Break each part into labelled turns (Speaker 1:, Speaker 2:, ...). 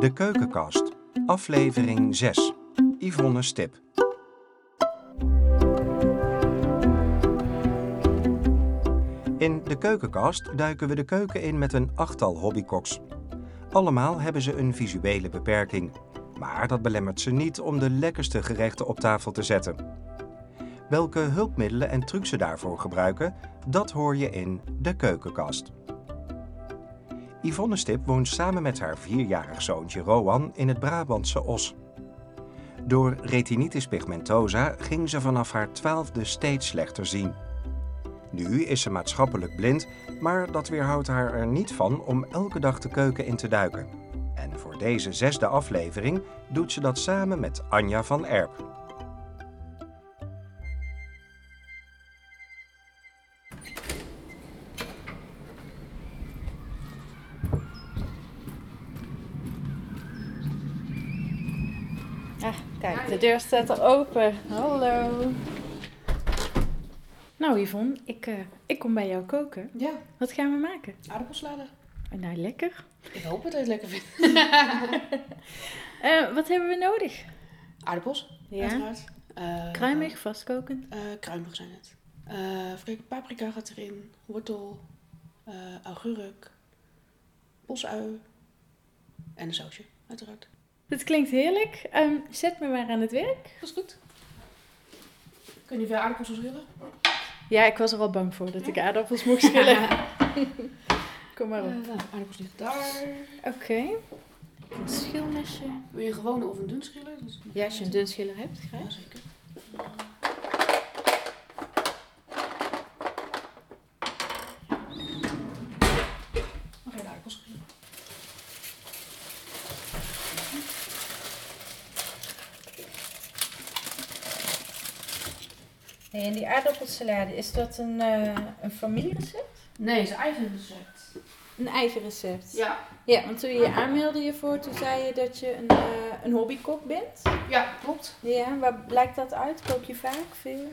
Speaker 1: De Keukenkast, aflevering 6. Yvonne Stip. In De Keukenkast duiken we de keuken in met een achttal hobbykoks. Allemaal hebben ze een visuele beperking. Maar dat belemmert ze niet om de lekkerste gerechten op tafel te zetten. Welke hulpmiddelen en trucs ze daarvoor gebruiken, dat hoor je in De Keukenkast. Yvonne Stip woont samen met haar vierjarig zoontje Roan in het Brabantse Os. Door retinitis pigmentosa ging ze vanaf haar twaalfde steeds slechter zien. Nu is ze maatschappelijk blind, maar dat weerhoudt haar er niet van om elke dag de keuken in te duiken. En voor deze zesde aflevering doet ze dat samen met Anja van Erp.
Speaker 2: Ah, kijk, de deur staat al open. Hallo. Nou, Yvonne, ik, eh, ik kom bij jou koken.
Speaker 3: Ja,
Speaker 2: Wat gaan we maken?
Speaker 3: aardappelsalade.
Speaker 2: Eh, Nou, lekker.
Speaker 3: Ik hoop dat je het lekker vindt.
Speaker 2: Eh, wat hebben we nodig?
Speaker 3: Aardappels, uiteraard. Eh,
Speaker 2: Kruimig, vastkokend.
Speaker 3: eh, kruimig zijn het. Eh, even kijken, paprika gaat erin, wortel, eh augurk, bosui en een sausje, uiteraard.
Speaker 2: Dat klinkt heerlijk. Ehm, zet me maar aan het werk.
Speaker 3: Dat is goed. Kun je veel aardappels schillen?
Speaker 2: Ja, ik was er al bang voor dat ik aardappels moest schillen. kom maar op.
Speaker 3: nou, aardappels liggen daar.
Speaker 2: Eh, Oké. Een schilmesje.
Speaker 3: Wil je een gewone of een dun schillen? Dat is-
Speaker 2: Ja, als je een dun schiller hebt, graag.
Speaker 3: Ja, zeker. Mag je de aardappels schillen?
Speaker 2: Hey, en die aardappelsalade, is dat een, eh, een familierecept?
Speaker 3: Nee, zijn eigen recept.
Speaker 2: Een eigen recept.
Speaker 3: Ja.
Speaker 2: Ja, want toen je je aanmeldde hiervoor, toen zei je dat je een, eh, een hobbykok bent.
Speaker 3: Ja, klopt.
Speaker 2: Ja, waar blijkt dat uit? Kook je vaak veel?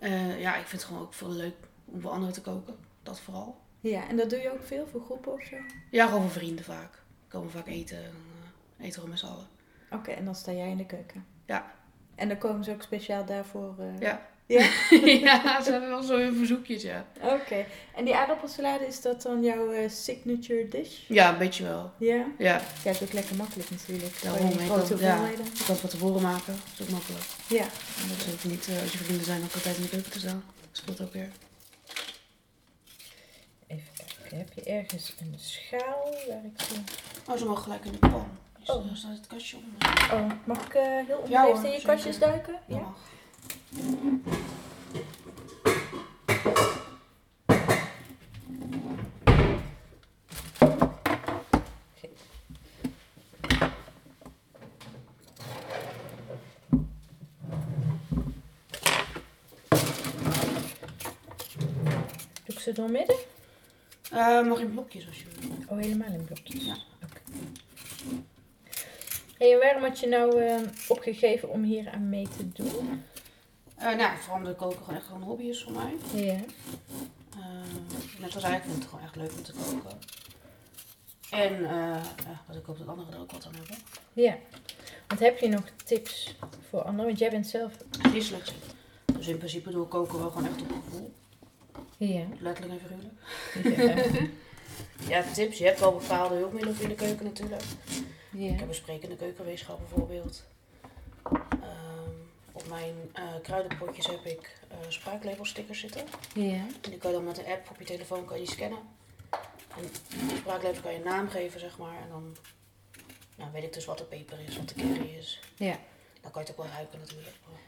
Speaker 3: Eh, ja, ik vind het gewoon ook veel leuk om voor anderen te koken. Dat vooral.
Speaker 2: Ja, en dat doe je ook veel voor groepen of zo?
Speaker 3: Ja, gewoon voor vrienden vaak. Komen vaak eten en eh, eten gewoon met z'n allen.
Speaker 2: Oké, en dan sta jij in de keuken.
Speaker 3: Ja.
Speaker 2: En dan komen ze ook speciaal daarvoor. eh,
Speaker 3: Ja.
Speaker 2: Ja?
Speaker 3: ja, ze hebben wel zo hun verzoekjes, ja.
Speaker 2: Oké. En die aardappelsalade, is dat dan jouw eh, signature dish?
Speaker 3: Ja, een beetje wel.
Speaker 2: Ja.
Speaker 3: Ja,
Speaker 2: Ja, het is ook lekker makkelijk natuurlijk.
Speaker 3: Daarom,
Speaker 2: Gewoon
Speaker 3: ik
Speaker 2: grote
Speaker 3: ook, ja.
Speaker 2: hoeveelheden.
Speaker 3: je kan het van tevoren maken. Dat is ook makkelijk.
Speaker 2: Ja.
Speaker 3: En dat is ook niet, eh, als je vrienden zijn, ook altijd in de keuken te staan. Dat speelt ook weer.
Speaker 2: Even kijken, heb je ergens een schaal waar ik...
Speaker 3: Oh, ze mogen gelijk in de pan. Dus
Speaker 2: Oh.
Speaker 3: oh. staat het kastje op.
Speaker 2: Oh, mag ik eh, heel
Speaker 3: Ja
Speaker 2: onbeleefd
Speaker 3: hoor,
Speaker 2: in je
Speaker 3: zeker.
Speaker 2: kastjes duiken?
Speaker 3: Ja. mag.
Speaker 2: Doe ik ze doormidden?
Speaker 3: Eh, mag in blokjes als je wil.
Speaker 2: Oh, helemaal in blokjes?
Speaker 3: Ja.
Speaker 2: Oké. Hey, en waarom had je nou eh, opgegeven om hier aan mee te doen?
Speaker 3: Eh nou, vooral omdat koken gewoon echt gewoon een hobby is voor mij.
Speaker 2: Ja.
Speaker 3: Eh, net als hij, ik vind het gewoon echt leuk om te koken. En eh, ja, want ik hoop dat anderen er ook wat aan hebben.
Speaker 2: Ja. Want heb je nog tips voor anderen? Want jij bent zelf...
Speaker 3: Die is slecht. Dus in principe doe ik koken wel gewoon echt op gevoel.
Speaker 2: Ja.
Speaker 3: Letterlijk en figuurlijk.
Speaker 2: Ja.
Speaker 3: Ja, tips. Je hebt wel bepaalde hulpmiddelen voor in de keuken natuurlijk. Ik
Speaker 2: ja.
Speaker 3: heb een sprekende keukenweegschaal bijvoorbeeld. Ehm, op mijn eh, kruidenpotjes heb ik eh spraaklabelstickers zitten.
Speaker 2: Ja.
Speaker 3: En die kan je dan met de app op je telefoon kan je die scannen. En die spraaklabels kan je een naam geven, zeg maar. En dan nou, weet ik dus wat de peper is, wat de curry is.
Speaker 2: Ja.
Speaker 3: Dan kan je het ook wel ruiken natuurlijk. maar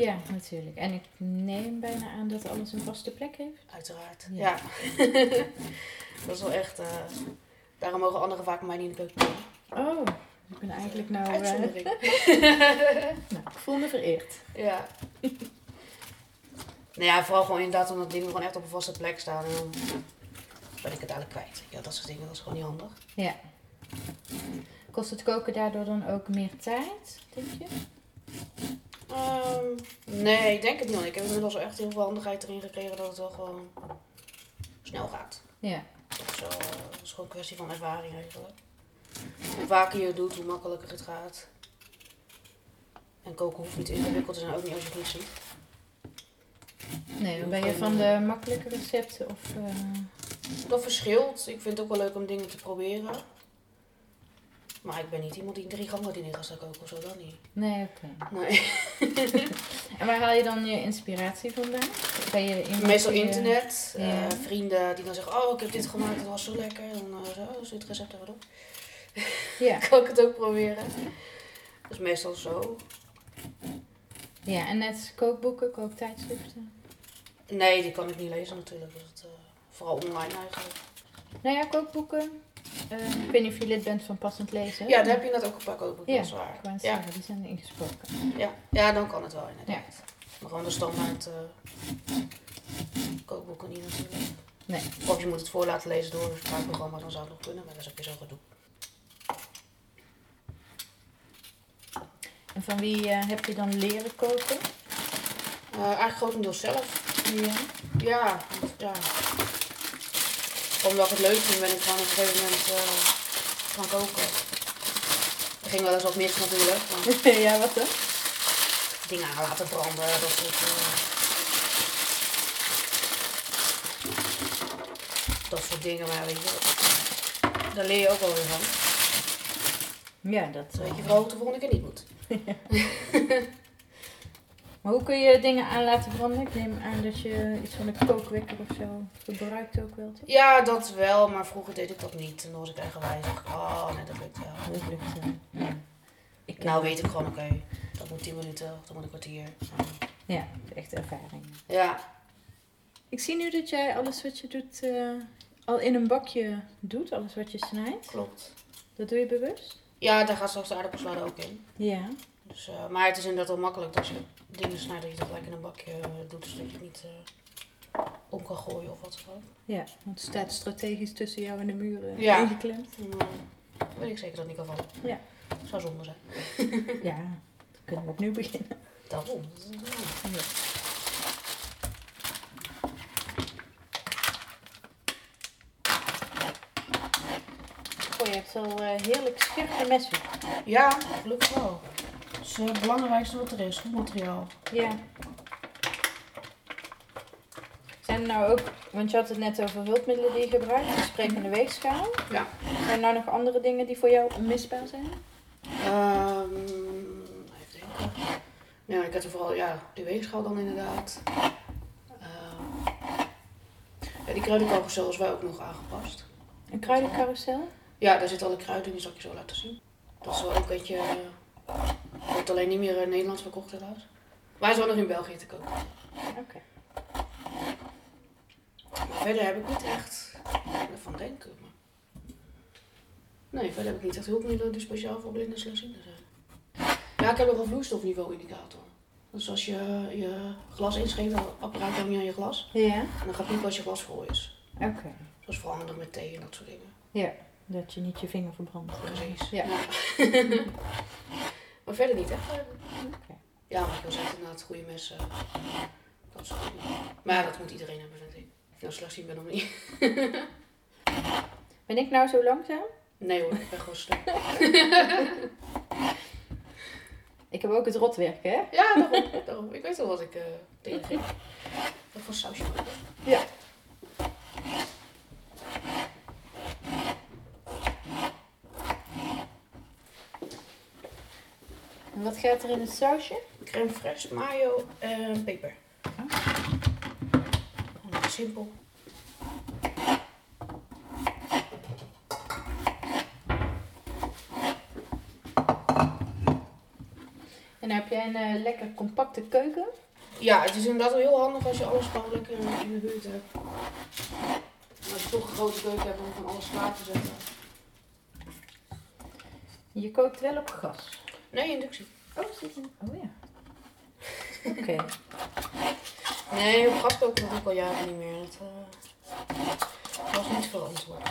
Speaker 2: Ja, natuurlijk. En ik neem bijna aan dat alles een vaste plek heeft.
Speaker 3: Uiteraard.
Speaker 2: Ja.
Speaker 3: Ja. dat is wel echt... eh, daarom mogen anderen vaak bij mij niet in de keuken komen.
Speaker 2: Oh, ik ben eigenlijk nou... eh,
Speaker 3: Uitzondering.
Speaker 2: nou, ik voel me vereerd.
Speaker 3: Ja. nou ja, vooral gewoon inderdaad omdat dingen gewoon echt op een vaste plek staan. En dan ben ik het eigenlijk kwijt. Ja, dat soort dingen, dat is gewoon niet handig.
Speaker 2: Ja. Kost het koken daardoor dan ook meer tijd, denk je?
Speaker 3: Ehm, nee, ik denk het niet. Ik heb inmiddels wel echt heel veel handigheid erin gekregen dat het wel gewoon snel gaat.
Speaker 2: Ja.
Speaker 3: eh, Dat is, wel- dat is gewoon een kwestie van ervaring eigenlijk. hoe vaker je het doet, hoe makkelijker het gaat. En koken hoeft niet ingewikkeld te zijn, ook niet als je het niet ziet.
Speaker 2: Nee, dan ben je van de makkelijke recepten of... eh,
Speaker 3: Dat verschilt. Ik vind het ook wel leuk om dingen te proberen. Maar ik ben niet iemand die drie gangen dingen gaat koken of zo, dat niet.
Speaker 2: Nee, oké.
Speaker 3: Nee.
Speaker 2: En waar haal je dan je inspiratie vandaan? Ben je iemand
Speaker 3: Meestal
Speaker 2: die, eh,
Speaker 3: internet. eh,
Speaker 2: ja.
Speaker 3: vrienden die dan zeggen, oh ik heb dit gemaakt, dat was zo lekker. En dan eh, zo, zit het recept er wat op.
Speaker 2: Ja,
Speaker 3: Kan ik het ook proberen. Dat is meestal zo.
Speaker 2: ja, en net kookboeken, kooktijdschriften.
Speaker 3: Nee, die kan ik niet lezen natuurlijk. Dus het, eh, vooral online eigenlijk.
Speaker 2: Nou ja, kookboeken. Eh, ik weet niet of je lid bent van Passend Lezen.
Speaker 3: Ja, daar heb je net ook een paar kookboeken,
Speaker 2: Ja,
Speaker 3: dat is waar.
Speaker 2: Ik wou net
Speaker 3: Ja.
Speaker 2: zeggen, die zijn er ingesproken.
Speaker 3: Ja. ja, dan kan het wel inderdaad. Maar gewoon de standaard eh, kookboeken niet natuurlijk.
Speaker 2: Nee.
Speaker 3: Of je moet het voor laten lezen door een spraakprogramma, dan zou het nog kunnen, maar dat is ook weer zo'n gedoe.
Speaker 2: En van wie eh, heb je dan leren koken?
Speaker 3: Eh eigenlijk grotendeels zelf.
Speaker 2: Ja.
Speaker 3: Ja, ja. Omdat ik het leuk vind, ben ik gewoon op een gegeven moment eh, gaan koken. Er ging wel eens wat mis natuurlijk, maar
Speaker 2: ja, wat dan?
Speaker 3: dingen aan laten branden, dat soort eh, Dat soort dingen, maar weet je, daar leer je ook wel weer van.
Speaker 2: Ja, dat...
Speaker 3: Dus
Speaker 2: eh,
Speaker 3: weet je vooral hoe het de volgende keer niet moet.
Speaker 2: Maar hoe kun je dingen aan laten branden? Ik neem aan dat je iets van een kookwekker of zo gebruikt ook wel, toch?
Speaker 3: Ja, dat wel, maar vroeger deed ik dat niet. Toen was ik eigenwijs. Dacht ik, Oh, nee, dat lukt wel.
Speaker 2: Dat lukt wel. Ik eh,
Speaker 3: Nou weet ik gewoon, oké, dat moet 10 minuten of dat moet een kwartier.
Speaker 2: Ja, echt ervaring.
Speaker 3: Ja,
Speaker 2: Ik zie nu dat jij alles wat je doet eh, al in een bakje doet, alles wat je snijdt.
Speaker 3: klopt.
Speaker 2: Dat doe je bewust?
Speaker 3: Ja, daar gaat straks de aardappelsalade ook in.
Speaker 2: Ja.
Speaker 3: Dus, eh, maar het is inderdaad wel makkelijk dat je dingen snijdt dat je dat gelijk in een bakje eh, doet, zodat je het niet eh, om kan gooien of wat dan ook.
Speaker 2: Ja, want het staat strategisch tussen jou en de muren
Speaker 3: Ja.
Speaker 2: ingeklemd.
Speaker 3: Dan eh, weet ik zeker dat het niet kan vallen.
Speaker 2: Ja.
Speaker 3: Zou zonde zijn.
Speaker 2: Ja, dan kunnen we opnieuw beginnen.
Speaker 3: Daarom. Dat is een zonde.
Speaker 2: Ja. Oh, je hebt al eh, heerlijk scherpe messen.
Speaker 3: Ja, gelukkig wel. Dat is eh, het belangrijkste wat er is, goed materiaal.
Speaker 2: Ja. Zijn er nou ook, want je had het net over hulpmiddelen die je gebruikt, de sprekende weegschaal.
Speaker 3: Ja.
Speaker 2: Zijn er nou nog andere dingen die voor jou onmisbaar zijn?
Speaker 3: Ehm even denken. Ja, ik had er vooral ja, de weegschaal dan inderdaad. Ehm, ja, die kruidencarousel is wel ook nog aangepast.
Speaker 2: Een kruidencarousel?
Speaker 3: Ja, daar zitten alle kruiden in, die zal ik je zo laten zien. Dat is wel ook eentje... eh, Wordt alleen niet meer in Nederland verkocht helaas. Maar hij is wel nog in België te kopen.
Speaker 2: Oké.
Speaker 3: Maar verder heb ik niet echt ervan denken. Maar... Nee, verder heb ik niet echt hulpmiddelen die speciaal voor blinden en slechtzienden zijn. Ja, ik heb nog een vloeistofniveau indicator. Dus als je je glas inschenkt, dan apparaat dan je aan je glas.
Speaker 2: Ja?
Speaker 3: En dan gaat piepen als je glas vol is.
Speaker 2: Oké.
Speaker 3: Dat is voor anderen met thee en dat soort dingen.
Speaker 2: Dat je niet je vinger verbrandt.
Speaker 3: Precies.
Speaker 2: Ja.
Speaker 3: maar verder niet echt.
Speaker 2: Oké.
Speaker 3: Ja, maar ik wil zeggen inderdaad goede messen. Dat soort dingen. Maar ja, dat moet iedereen hebben, vind ik. Of je nou slechtziend bent of niet.
Speaker 2: Ben ik nou zo langzaam?
Speaker 3: Nee hoor, ik ben gewoon slecht.
Speaker 2: Ik heb ook het rotwerk, hè?
Speaker 3: Ja, daarom. daarom. Ik weet wel wat ik eh tegen ging. Dat was sausje maken.
Speaker 2: Ja. En wat gaat er in het sausje?
Speaker 3: Crème fraîche, mayo en peper. Gewoon lekker Oh, Simpel.
Speaker 2: En dan heb jij een eh, lekker compacte keuken.
Speaker 3: Ja, het is inderdaad wel heel handig als je alles gewoon lekker in de buurt hebt. En als je toch een grote keuken hebt om van alles klaar te zetten.
Speaker 2: Je kookt wel op gas.
Speaker 3: Nee, inductie.
Speaker 2: Oh, zit een... Oh ja. Oké.
Speaker 3: Nee, op gas koken dat doe ik al jaren niet meer. Dat eh, was niet verantwoord.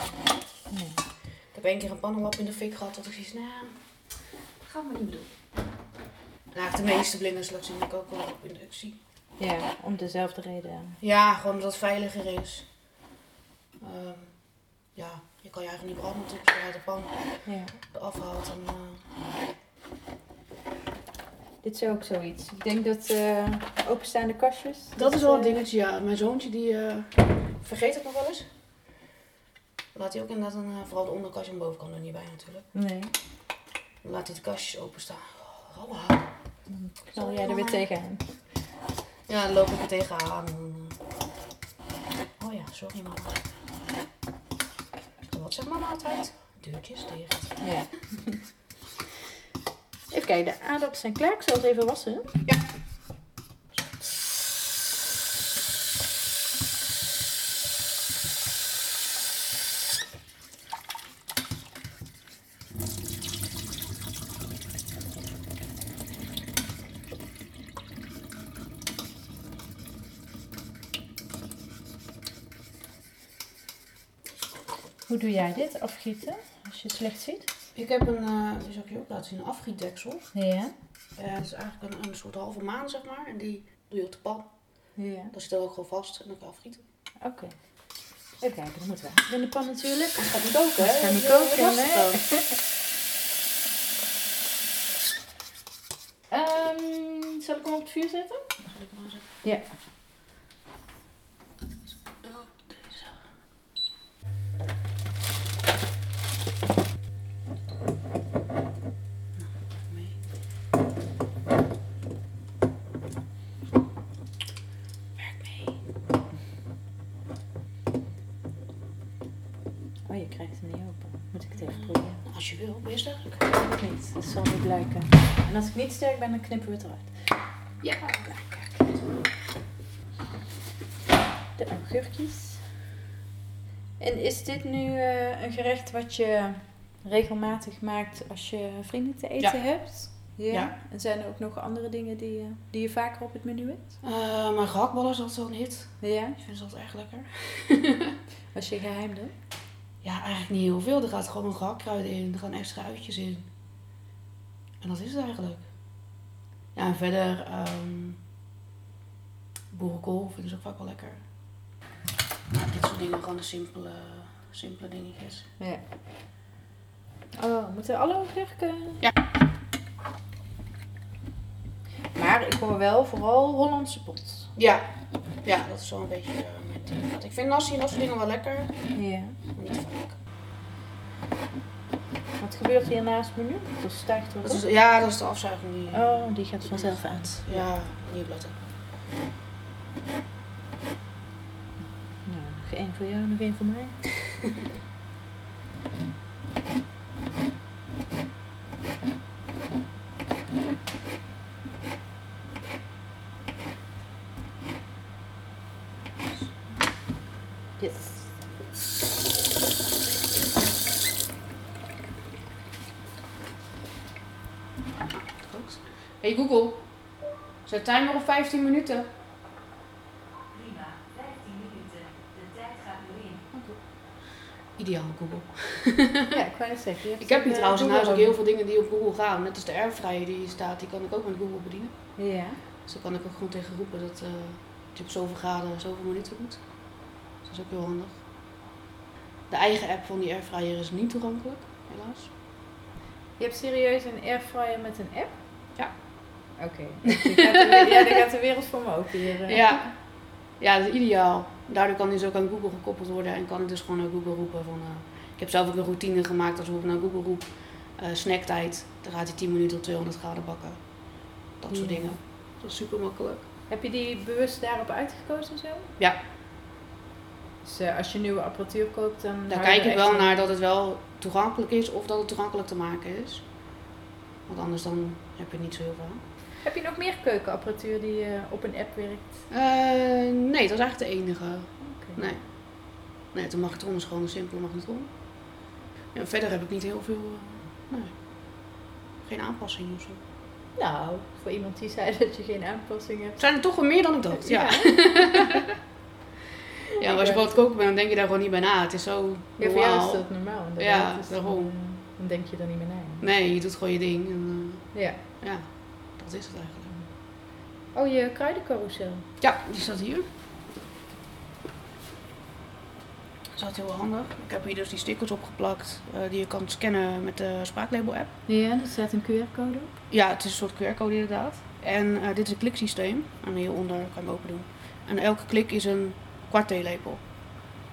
Speaker 2: Nee.
Speaker 3: Ik heb één keer een pannenlap in de fik gehad dat ik zoiets, nou, dat gaan we niet meer doen. Nou, de meeste blinden slechts in de koken wel op inductie.
Speaker 2: Ja, om dezelfde reden.
Speaker 3: Ja, gewoon omdat het veiliger is. Ehm, ja, Je kan je eigen die brandnetupjes uit de pan
Speaker 2: Ja.
Speaker 3: afhaalt. En, eh,
Speaker 2: Dit is ook zoiets. Ik denk dat eh, openstaande kastjes.
Speaker 3: dat is wel een
Speaker 2: eh,
Speaker 3: dingetje, ja. Mijn zoontje die eh, vergeet het nog wel eens. Dan laat hij ook inderdaad een, eh, vooral de onderkastje en bovenkant er niet bij natuurlijk.
Speaker 2: Nee.
Speaker 3: Dan laat hij de kastjes openstaan. Oh, Hallo.
Speaker 2: Knal jij er weer tegenaan.
Speaker 3: Ja, dan loop ik er tegenaan. en, eh, Oh ja, sorry mama. Wat zegt mama altijd? Deurtjes dicht.
Speaker 2: Ja. Even kijken, de aardappels zijn klaar. Ik zal het even wassen. Hoe doe jij dit? Afgieten? Als je het slecht ziet?
Speaker 3: Ik heb een, eh die zal ik je ook laten zien, een afgietdeksel.
Speaker 2: Ja.
Speaker 3: Eh, het is eigenlijk een, een soort halve maan, zeg maar. En die doe je op de pan.
Speaker 2: Ja.
Speaker 3: Dan zit dat ook gewoon vast en dan kan je afgieten.
Speaker 2: Oké. Even kijken, dat moeten we eigenlijk in de pan natuurlijk.
Speaker 3: Het gaat niet koken, hè?
Speaker 2: Het gaat niet
Speaker 3: Dat
Speaker 2: koken,
Speaker 3: is heel lastig
Speaker 2: nee.
Speaker 3: dan.
Speaker 2: Ehm, zal ik hem op het vuur zetten?
Speaker 3: Zal ik maar eens even-
Speaker 2: Ja.
Speaker 3: Oh, deze. Nou, mee. Werk mee.
Speaker 2: Oh, je krijgt hem niet open. Moet ik het even proberen?
Speaker 3: Als je wil, wees eigenlijk.
Speaker 2: Of niet? Oh, Dat zal niet blijken. En als ik niet sterk ben, dan knippen we het eruit. Ja, kijk. De augurkjes. En is dit nu eh, een gerecht wat je regelmatig maakt als je vrienden te eten hebt?
Speaker 3: Ja.
Speaker 2: En zijn er ook nog andere dingen die, je- die je vaker op het menu hebt?
Speaker 3: Eh, mijn gehaktballen is altijd wel een hit.
Speaker 2: Ja.
Speaker 3: Ik vind ze altijd erg lekker.
Speaker 2: Was je geheim dan?
Speaker 3: Ja, eigenlijk niet heel veel. Er gaat gewoon een gehakruid in, er gaan extra uitjes in. En dat is het eigenlijk. Ja, en verder, ehm boerenkool vinden ze ook vaak wel lekker. Maar Nou, dit soort dingen, gewoon de simpele, simpele dingetjes.
Speaker 2: Ja. Oh, moeten alle augurken?
Speaker 3: Ja.
Speaker 2: Maar ik hoor wel vooral Hollandse pot.
Speaker 3: Ja, ja dat is wel een beetje eh, mijn ding. Want Ik vind nasi en dat soort dingen wel lekker,
Speaker 2: Ja.
Speaker 3: maar niet vaak.
Speaker 2: Wat gebeurt hier naast me nu? Dat stijgt wat
Speaker 3: Dat is,
Speaker 2: op.
Speaker 3: ja, dat is de afzuiging die...
Speaker 2: Oh, die gaat vanzelf uit.
Speaker 3: Ja, nieuw blad.
Speaker 2: Nou, nog één voor jou, nog één voor mij. Yes.
Speaker 3: Goed. Hey Google, zet timer op 15 minuten.
Speaker 4: Prima, 15 minuten. De tijd gaat nu in.
Speaker 3: Ideaal Google.
Speaker 2: Ja, ik wou net zeggen. je hebt
Speaker 3: Ik heb hier
Speaker 2: een,
Speaker 3: trouwens in
Speaker 2: eh,
Speaker 3: huis ook
Speaker 2: Google.
Speaker 3: heel veel dingen die op Google gaan. Net als de airfryer die hier staat, die kan ik ook met Google bedienen.
Speaker 2: Ja.
Speaker 3: Dus dan kan ik ook gewoon tegen roepen dat, eh, dat je op zoveel graden zoveel minuten moet. Dus dat is ook heel handig. De eigen app van die airfryer is niet toegankelijk, helaas.
Speaker 2: Je hebt serieus een airfryer met een app?
Speaker 3: Ja.
Speaker 2: Oké. Die gaat de we- ja, daar gaat de wereld voor me open hier. eh.
Speaker 3: Ja. ja, dat is ideaal. Daardoor kan die dus ook aan Google gekoppeld worden en kan ik dus gewoon naar Google roepen. Van, eh, ik heb zelf ook een routine gemaakt als ik naar Google roep. eh, snacktijd, dan gaat hij 10 minuten op 200 graden bakken. Dat soort
Speaker 2: Ja.
Speaker 3: dingen. Mm. Dat is super makkelijk.
Speaker 2: Heb je die bewust daarop uitgekozen zo?
Speaker 3: Ja.
Speaker 2: Dus eh, als je nieuwe apparatuur koopt, dan... hou
Speaker 3: Daar
Speaker 2: je
Speaker 3: kijk
Speaker 2: er
Speaker 3: ik
Speaker 2: echt
Speaker 3: wel
Speaker 2: een-
Speaker 3: naar dat het wel toegankelijk is of dat het toegankelijk te maken is. Want anders dan heb je het niet zo heel veel. aan.
Speaker 2: Heb je nog meer keukenapparatuur die eh, op een app werkt?
Speaker 3: Eh, nee, dat is eigenlijk de enige.
Speaker 2: Oké.
Speaker 3: Nee. Nee, de magnetron is gewoon een simpele magnetron. Ja, verder heb ik niet heel veel. eh, nee. Geen aanpassingen of zo.
Speaker 2: Nou, voor iemand die zei dat je geen aanpassing hebt.
Speaker 3: Zijn er toch wel meer dan ik dacht? Ja. Ja, maar als je
Speaker 2: Ja.
Speaker 3: gewoon aan het koken bent, dan denk je daar gewoon niet bij na. Het is zo.
Speaker 2: Ja, voor jou is
Speaker 3: normaal.
Speaker 2: dat normaal inderdaad.
Speaker 3: Ja,
Speaker 2: Dus
Speaker 3: daarom.
Speaker 2: Dan, eh, dan denk je er niet meer naar.
Speaker 3: Nee, je doet gewoon je ding. En,
Speaker 2: Ja.
Speaker 3: eh, ja, dat is het eigenlijk.
Speaker 2: Oh, je kruidencarousel.
Speaker 3: Ja, die staat hier. is altijd heel handig. Ik heb hier dus die stickers opgeplakt eh, die je kan scannen met de spraaklabel app.
Speaker 2: Ja, er staat een QR-code op.
Speaker 3: Ja, het is een soort QR-code inderdaad. En eh, dit is een kliksysteem. En hieronder kan je hem open doen. En elke klik is een kwart theelepel.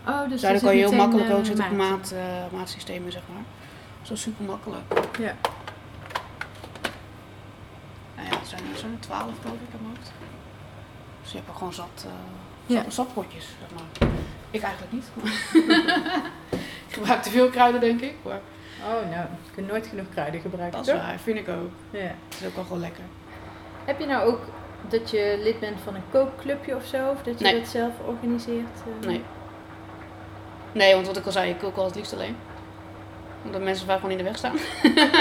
Speaker 2: Oh, dus
Speaker 3: Daardoor kan je heel makkelijk ook zitten op
Speaker 2: maken.
Speaker 3: maat, eh, maatsystemen, zeg maar. Zo super makkelijk.
Speaker 5: Ja.
Speaker 3: Nou ja, er zijn er zo'n twaalf geloof ik aan maakt. Dus je hebt er gewoon zat, eh
Speaker 2: Ja.
Speaker 3: zat, zatpotjes, zeg maar. Ik eigenlijk niet. ik gebruik te veel kruiden, denk ik. Maar
Speaker 5: Oh, nou, je kunt nooit genoeg kruiden gebruiken,
Speaker 3: dat is
Speaker 5: toch?
Speaker 3: waar, vind ik ook.
Speaker 5: Ja.
Speaker 3: Het is ook wel gewoon lekker.
Speaker 2: Heb je nou ook dat je lid bent van een kookclubje of zo? Of dat je
Speaker 3: Nee.
Speaker 2: dat zelf organiseert? eh?
Speaker 3: Nee. Nee, want wat ik al zei, ik kook al het liefst alleen. Omdat mensen vaak gewoon in de weg staan.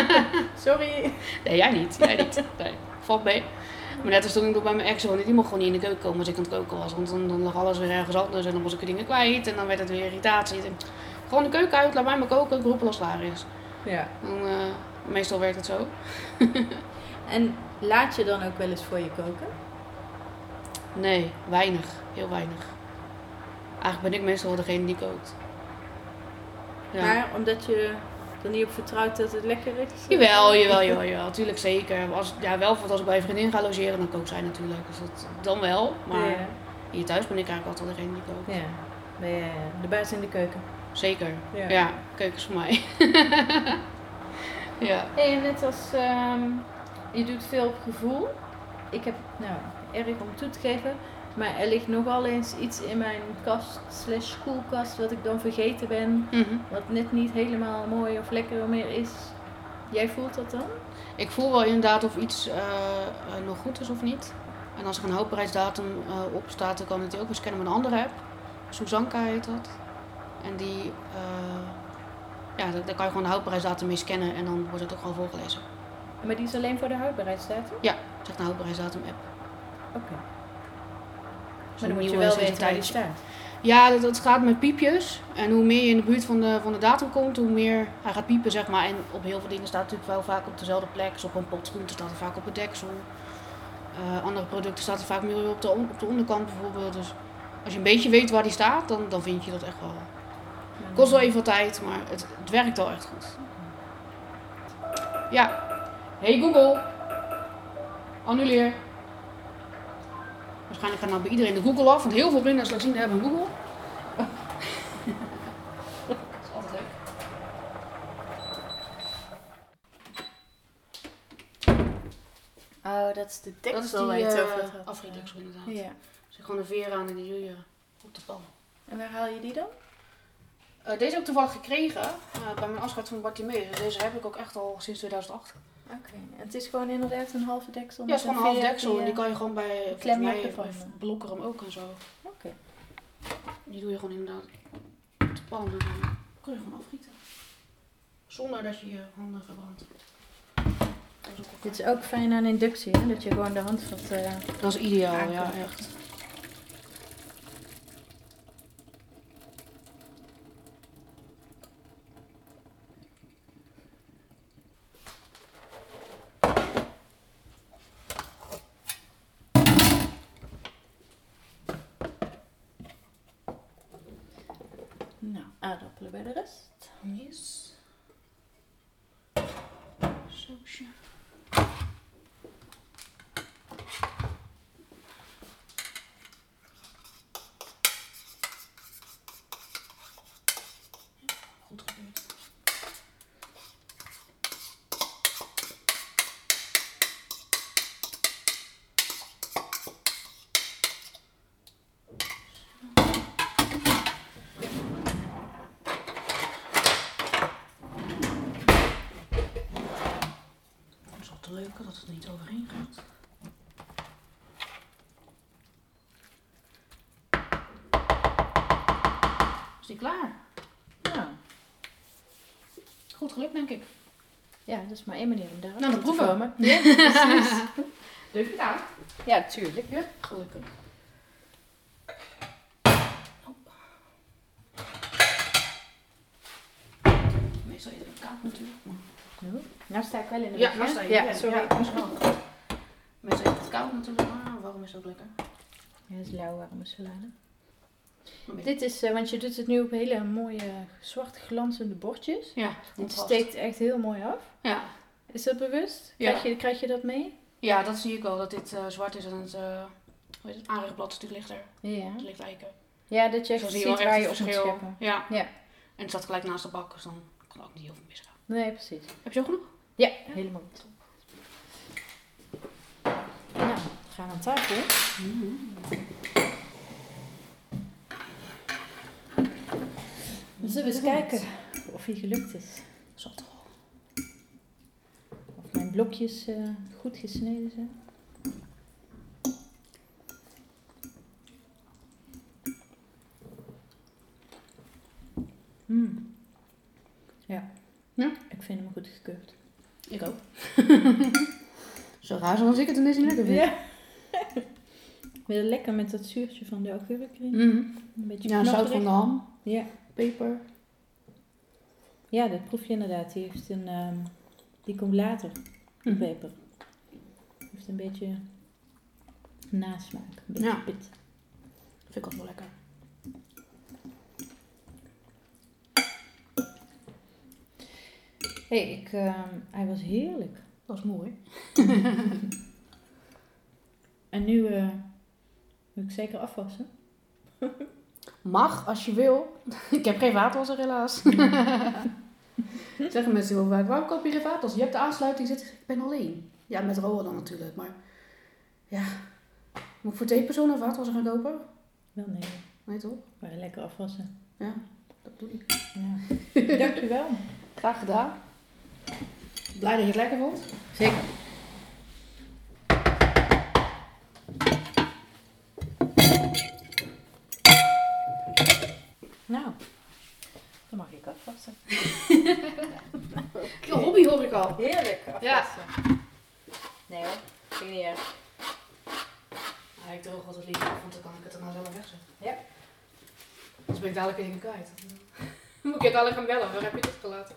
Speaker 5: Sorry.
Speaker 3: Nee, jij niet. Jij niet. Nee, valt mee. Maar net als toen ik nog bij mijn ex woonde, die mocht gewoon niet in de keuken komen als ik aan het koken was. Want dan, dan lag alles weer ergens anders en dan was ik dingen kwijt en dan werd het weer irritatie. En gewoon de keuken uit, laat mij maar koken, ik roep al als het klaar is.
Speaker 5: Ja.
Speaker 3: Dan, eh, meestal werkt het zo.
Speaker 2: En laat je dan ook wel eens voor je koken?
Speaker 3: Nee, weinig. Heel weinig. Eigenlijk ben ik meestal wel degene die kookt. Ja.
Speaker 2: Maar omdat je er niet op vertrouwt dat het lekker is?
Speaker 3: Jawel, jawel, jawel, jawel. Tuurlijk zeker. Als, ja, wel, want als ik bij een vriendin ga logeren, dan kookt zij natuurlijk. Dus dat, dan wel. Maar
Speaker 2: Ja.
Speaker 3: hier thuis ben ik eigenlijk altijd degene die kookt.
Speaker 5: Ja. Ben je de baas in de keuken?
Speaker 3: Zeker.
Speaker 5: Ja.
Speaker 3: Ja. keuken is voor mij. ja.
Speaker 2: Hey, en net als ehm, je doet veel op gevoel. Ik heb, nou, erg om toe te geven. Maar er ligt nogal eens iets in mijn kast slash koelkast wat ik dan vergeten ben.
Speaker 3: Mhm.
Speaker 2: Wat net niet helemaal mooi of lekker meer is. Jij voelt dat dan?
Speaker 3: Ik voel wel inderdaad of iets eh, eh, nog goed is of niet. En als er een houdbaarheidsdatum eh, op staat, dan kan ik die ook weer scannen met een andere app. Suzanka heet dat. En die, eh, ja, daar, daar kan je gewoon de houdbaarheidsdatum mee scannen en dan wordt het ook gewoon voorgelezen.
Speaker 2: Maar die is alleen voor de houdbaarheidsdatum?
Speaker 3: Dat is echt een houdbaarheidsdatum app.
Speaker 2: Oké.
Speaker 5: Maar
Speaker 3: Zo'n
Speaker 5: dan moet je
Speaker 3: nieuwe
Speaker 5: wel
Speaker 3: sinds een
Speaker 5: weten waar die
Speaker 3: tijdje.
Speaker 5: staat.
Speaker 3: Ja, dat, dat gaat met piepjes. En hoe meer je in de buurt van de, van de datum komt, hoe meer hij gaat piepen, zeg maar. En op heel veel dingen staat het natuurlijk wel vaak op dezelfde plek. Dus op een pot groente staat het vaak op het deksel. Eh, andere producten staat er vaak meer op de, on- op de onderkant bijvoorbeeld. Dus als je een beetje weet waar die staat, dan, dan vind je dat echt wel. Kost wel even wat tijd, maar het, het werkt wel echt goed. Ja. Hey Google. Annuleer. Waarschijnlijk gaat nou bij iedereen de Google af, want heel veel blinde en slechtzienden hebben een Google. Dat is altijd leuk.
Speaker 2: Oh, dat is de
Speaker 3: Dat is die
Speaker 2: deksel waar je het over
Speaker 3: eh,
Speaker 2: had.
Speaker 3: afrietdeksel inderdaad. Er
Speaker 2: Ja.
Speaker 3: zit gewoon een veer aan en die doe je op de pan.
Speaker 2: En waar haal je die dan?
Speaker 3: Eh, deze heb ik toevallig gekregen eh, bij mijn afscheid van Bartimeus. En Deze heb ik ook echt al sinds 2008.
Speaker 2: Oké. En het is gewoon inderdaad een halve deksel.
Speaker 3: Ja, het is gewoon een half deksel en die kan je gewoon bij, volgens
Speaker 2: klem je
Speaker 3: mij,
Speaker 2: ook ervan.
Speaker 3: bij Blokkerum ook en zo.
Speaker 2: Oké.
Speaker 3: Die doe je gewoon inderdaad op de pan en dan kun je gewoon afgieten. Zonder dat je je handen verbrandt. Dat is ook wel
Speaker 2: Dit is ook fijn aan inductie, hè? dat je gewoon de handvat... eh
Speaker 3: Dat is ideaal, ja,
Speaker 2: Aankomen.
Speaker 3: echt.
Speaker 2: Nou, aardappelen bij de rest.
Speaker 3: Yes. Sausje. Goed gebeurd. Dat is altijd leuker dat het er niet overheen gaat. Is die klaar?
Speaker 2: Nou,
Speaker 3: Goed gelukt, denk ik.
Speaker 2: ja, dat is maar één manier om daar
Speaker 3: Nou, dan
Speaker 2: achter te
Speaker 3: proeven we.
Speaker 2: komen. Ja, precies.
Speaker 3: Leuk gedaan.
Speaker 2: ja, tuurlijk. Ja.
Speaker 3: Gelukkig. Meestal eerder een kaart natuurlijk.
Speaker 2: Nou sta ik wel in de weg,
Speaker 3: Ja, daar
Speaker 2: hè?
Speaker 3: sta je.
Speaker 2: Ja,
Speaker 3: Ja,
Speaker 2: sorry.
Speaker 3: ja, dat is wel. Meestal eet het koud natuurlijk, maar warm is ook lekker.
Speaker 2: Ja, dat is lauw warme salade. Dit is, eh, want je doet het nu op hele mooie zwart glanzende bordjes.
Speaker 6: Ja,
Speaker 2: Het
Speaker 6: contrast.
Speaker 2: steekt echt heel mooi af.
Speaker 6: Ja.
Speaker 2: Is dat bewust?
Speaker 6: Ja.
Speaker 2: Krijg, je, krijg je dat mee?
Speaker 3: Ja, dat zie ik wel, dat dit eh, zwart is en het, eh hoe heet het aanrechtblad is natuurlijk lichter.
Speaker 2: Ja.
Speaker 3: Het ligt eiken.
Speaker 2: Ja, dat je
Speaker 3: Zo
Speaker 2: echt
Speaker 3: zie je
Speaker 2: ziet
Speaker 3: wel echt
Speaker 2: waar
Speaker 3: het
Speaker 2: je op moet
Speaker 3: verschil.
Speaker 2: scheppen.
Speaker 3: Ja.
Speaker 2: Ja.
Speaker 3: En het staat gelijk naast de bak, dus dan kan ook niet heel veel misgaan.
Speaker 2: Nee, precies.
Speaker 3: Heb je ook genoeg?
Speaker 2: Ja, helemaal goed. Nou, we gaan aan tafel. Dan zullen we eens kijken of hij gelukt is.
Speaker 3: Zat toch al.
Speaker 2: Of mijn blokjes eh, goed gesneden zijn. Mm. Ja.
Speaker 6: Ja?
Speaker 2: Ik vind hem goed gekeurd.
Speaker 3: Ik ook.
Speaker 6: Zo raar zoals ik het ineens niet lekker vind.
Speaker 2: Ja. Weer lekker met dat zuurtje van de augurk erin.
Speaker 6: Mhm.
Speaker 2: Een beetje
Speaker 6: Ja, zout van de
Speaker 2: knapperig.
Speaker 6: ham,
Speaker 2: Ja.
Speaker 3: Hm.
Speaker 6: peper.
Speaker 2: ja, dat proef je inderdaad. Die, heeft een, ehm, die komt later, de
Speaker 6: Mhm.
Speaker 2: peper. Heeft een beetje nasmaak. Een beetje
Speaker 3: Ja.
Speaker 2: pit.
Speaker 3: Vind ik altijd wel lekker.
Speaker 2: Hé, ik, ehm, hij was heerlijk.
Speaker 3: Dat is mooi.
Speaker 2: En nu eh, moet ik zeker afwassen.
Speaker 3: Mag, als je wil. ik heb geen vaatwasser helaas. Zeggen mensen heel vaak, waarom koop je geen vaatwasser? Je hebt de aansluiting zitten, ik ben alleen. Ja, met Roa dan natuurlijk, maar... Ja, moet ik voor twee personen een vaatwasser gaan kopen?
Speaker 2: Wel nee,
Speaker 3: Nee toch?
Speaker 2: maar lekker afwassen.
Speaker 3: Ja, dat doe ik.
Speaker 2: Ja. Dankjewel.
Speaker 3: Graag gedaan. Blij dat je het lekker vond.
Speaker 2: Zeker. Nou, dan mag ik afwassen.
Speaker 3: Je hobby hoor ik al.
Speaker 2: Heerlijk
Speaker 3: Ja.
Speaker 2: Nee hoor, vind ik niet erg.
Speaker 3: Ja, ik droog altijd liever af, want dan kan ik het daarna zelf wegzetten.
Speaker 2: Ja.
Speaker 3: Anders ben ik dadelijk in de kwijt. Moet ik je dadelijk gaan bellen, waar heb je dit gelaten?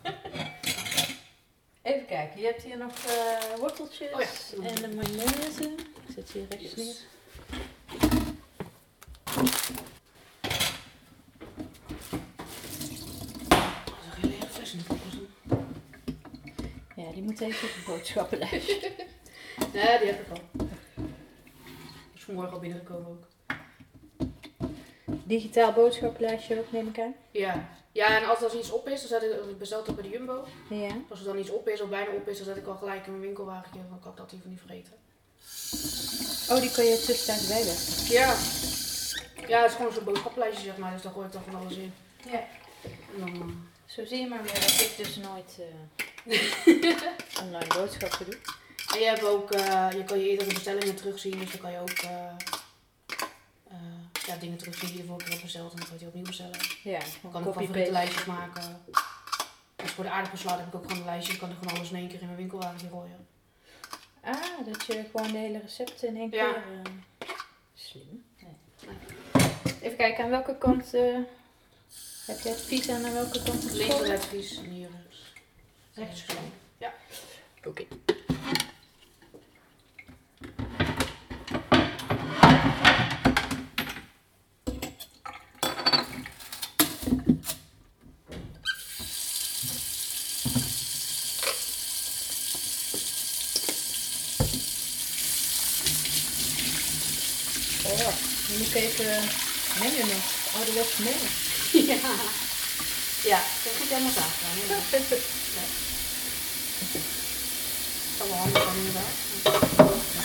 Speaker 2: Even kijken, je hebt hier nog eh, worteltjes
Speaker 3: Oh ja.
Speaker 2: en de mayonaise. Ik zet ze hier rechts neer.
Speaker 3: Dat is een hele erg fris in de koelkast, hoor.
Speaker 2: Ja, die moet even op het boodschappenlijstje.
Speaker 3: Nee, die heb ik al. Dat is vanmorgen al binnengekomen ook.
Speaker 2: Digitaal boodschappenlijstje ook, neem ik aan.
Speaker 3: Ja. Ja, en altijd als iets op is, dan zet ik, ik bestel het ook bij de Jumbo.
Speaker 2: Ja.
Speaker 3: Als er dan iets op is of bijna op is, dan zet ik al gelijk in mijn winkelwagentje. Dan kan ik dat even niet vergeten.
Speaker 2: Oh, die kan je tussentijds bijleggen.
Speaker 3: Ja. Ja, het is gewoon zo'n boodschappenlijstje, zeg maar. Dus daar gooi ik dan van alles in.
Speaker 2: Ja.
Speaker 3: En dan, eh,
Speaker 2: Zo zie je maar weer dat ik dus nooit eh, online boodschappen doe.
Speaker 3: En je hebt ook, eh, je kan je eerdere bestellingen terugzien, dus dan kan je ook eh, eh, ja, dingen terugzien die je de vorige keer hebt besteld en dan kan je die opnieuw bestellen.
Speaker 2: Ja,
Speaker 3: Dan kan ik ook favoriete
Speaker 2: copy-paste.
Speaker 3: lijstjes maken. Dus voor de aardappelsalade heb ik ook gewoon een lijstje, ik kan er gewoon alles in één keer in mijn winkelwagentje gooien.
Speaker 2: Ah, dat je gewoon de hele recepten in één
Speaker 3: Ja.
Speaker 2: keer... eh, slim. Nee. Even kijken, aan welke kant eh, heb je advies en aan welke kant het
Speaker 3: Links
Speaker 2: school?
Speaker 3: en advies en hier rechts. Rechts gewoon.
Speaker 2: Oh, Oh, je moet even mengen nog. Ouderwets mengen.
Speaker 3: Ja, dat moet helemaal zacht gaan. hè? Ja. Dat kan wel handig zijn inderdaad.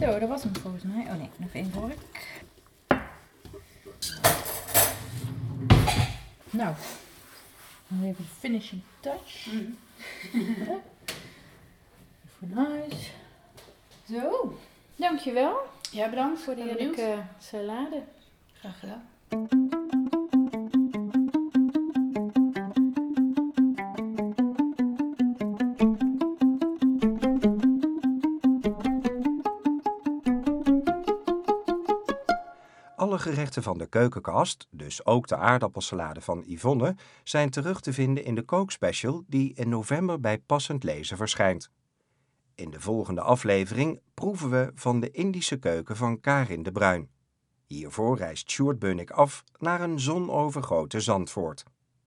Speaker 2: Zo, dat was hem volgens mij. Oh nee, nog één vork. Nou, dan even de finishing touch. Even nice. Zo, dankjewel
Speaker 3: Ja, bedankt
Speaker 2: voor de heerlijke salade.
Speaker 3: Graag gedaan.
Speaker 1: Alle gerechten van de keukenkast, dus ook de aardappelsalade van Yvonne, zijn terug te vinden in de kookspecial die in november bij Passend Lezen verschijnt. In de volgende aflevering proeven we van de Indische keuken van Karin de Bruin. Hiervoor reist Sjoerd Bunnik af naar een zonovergoten Zandvoort.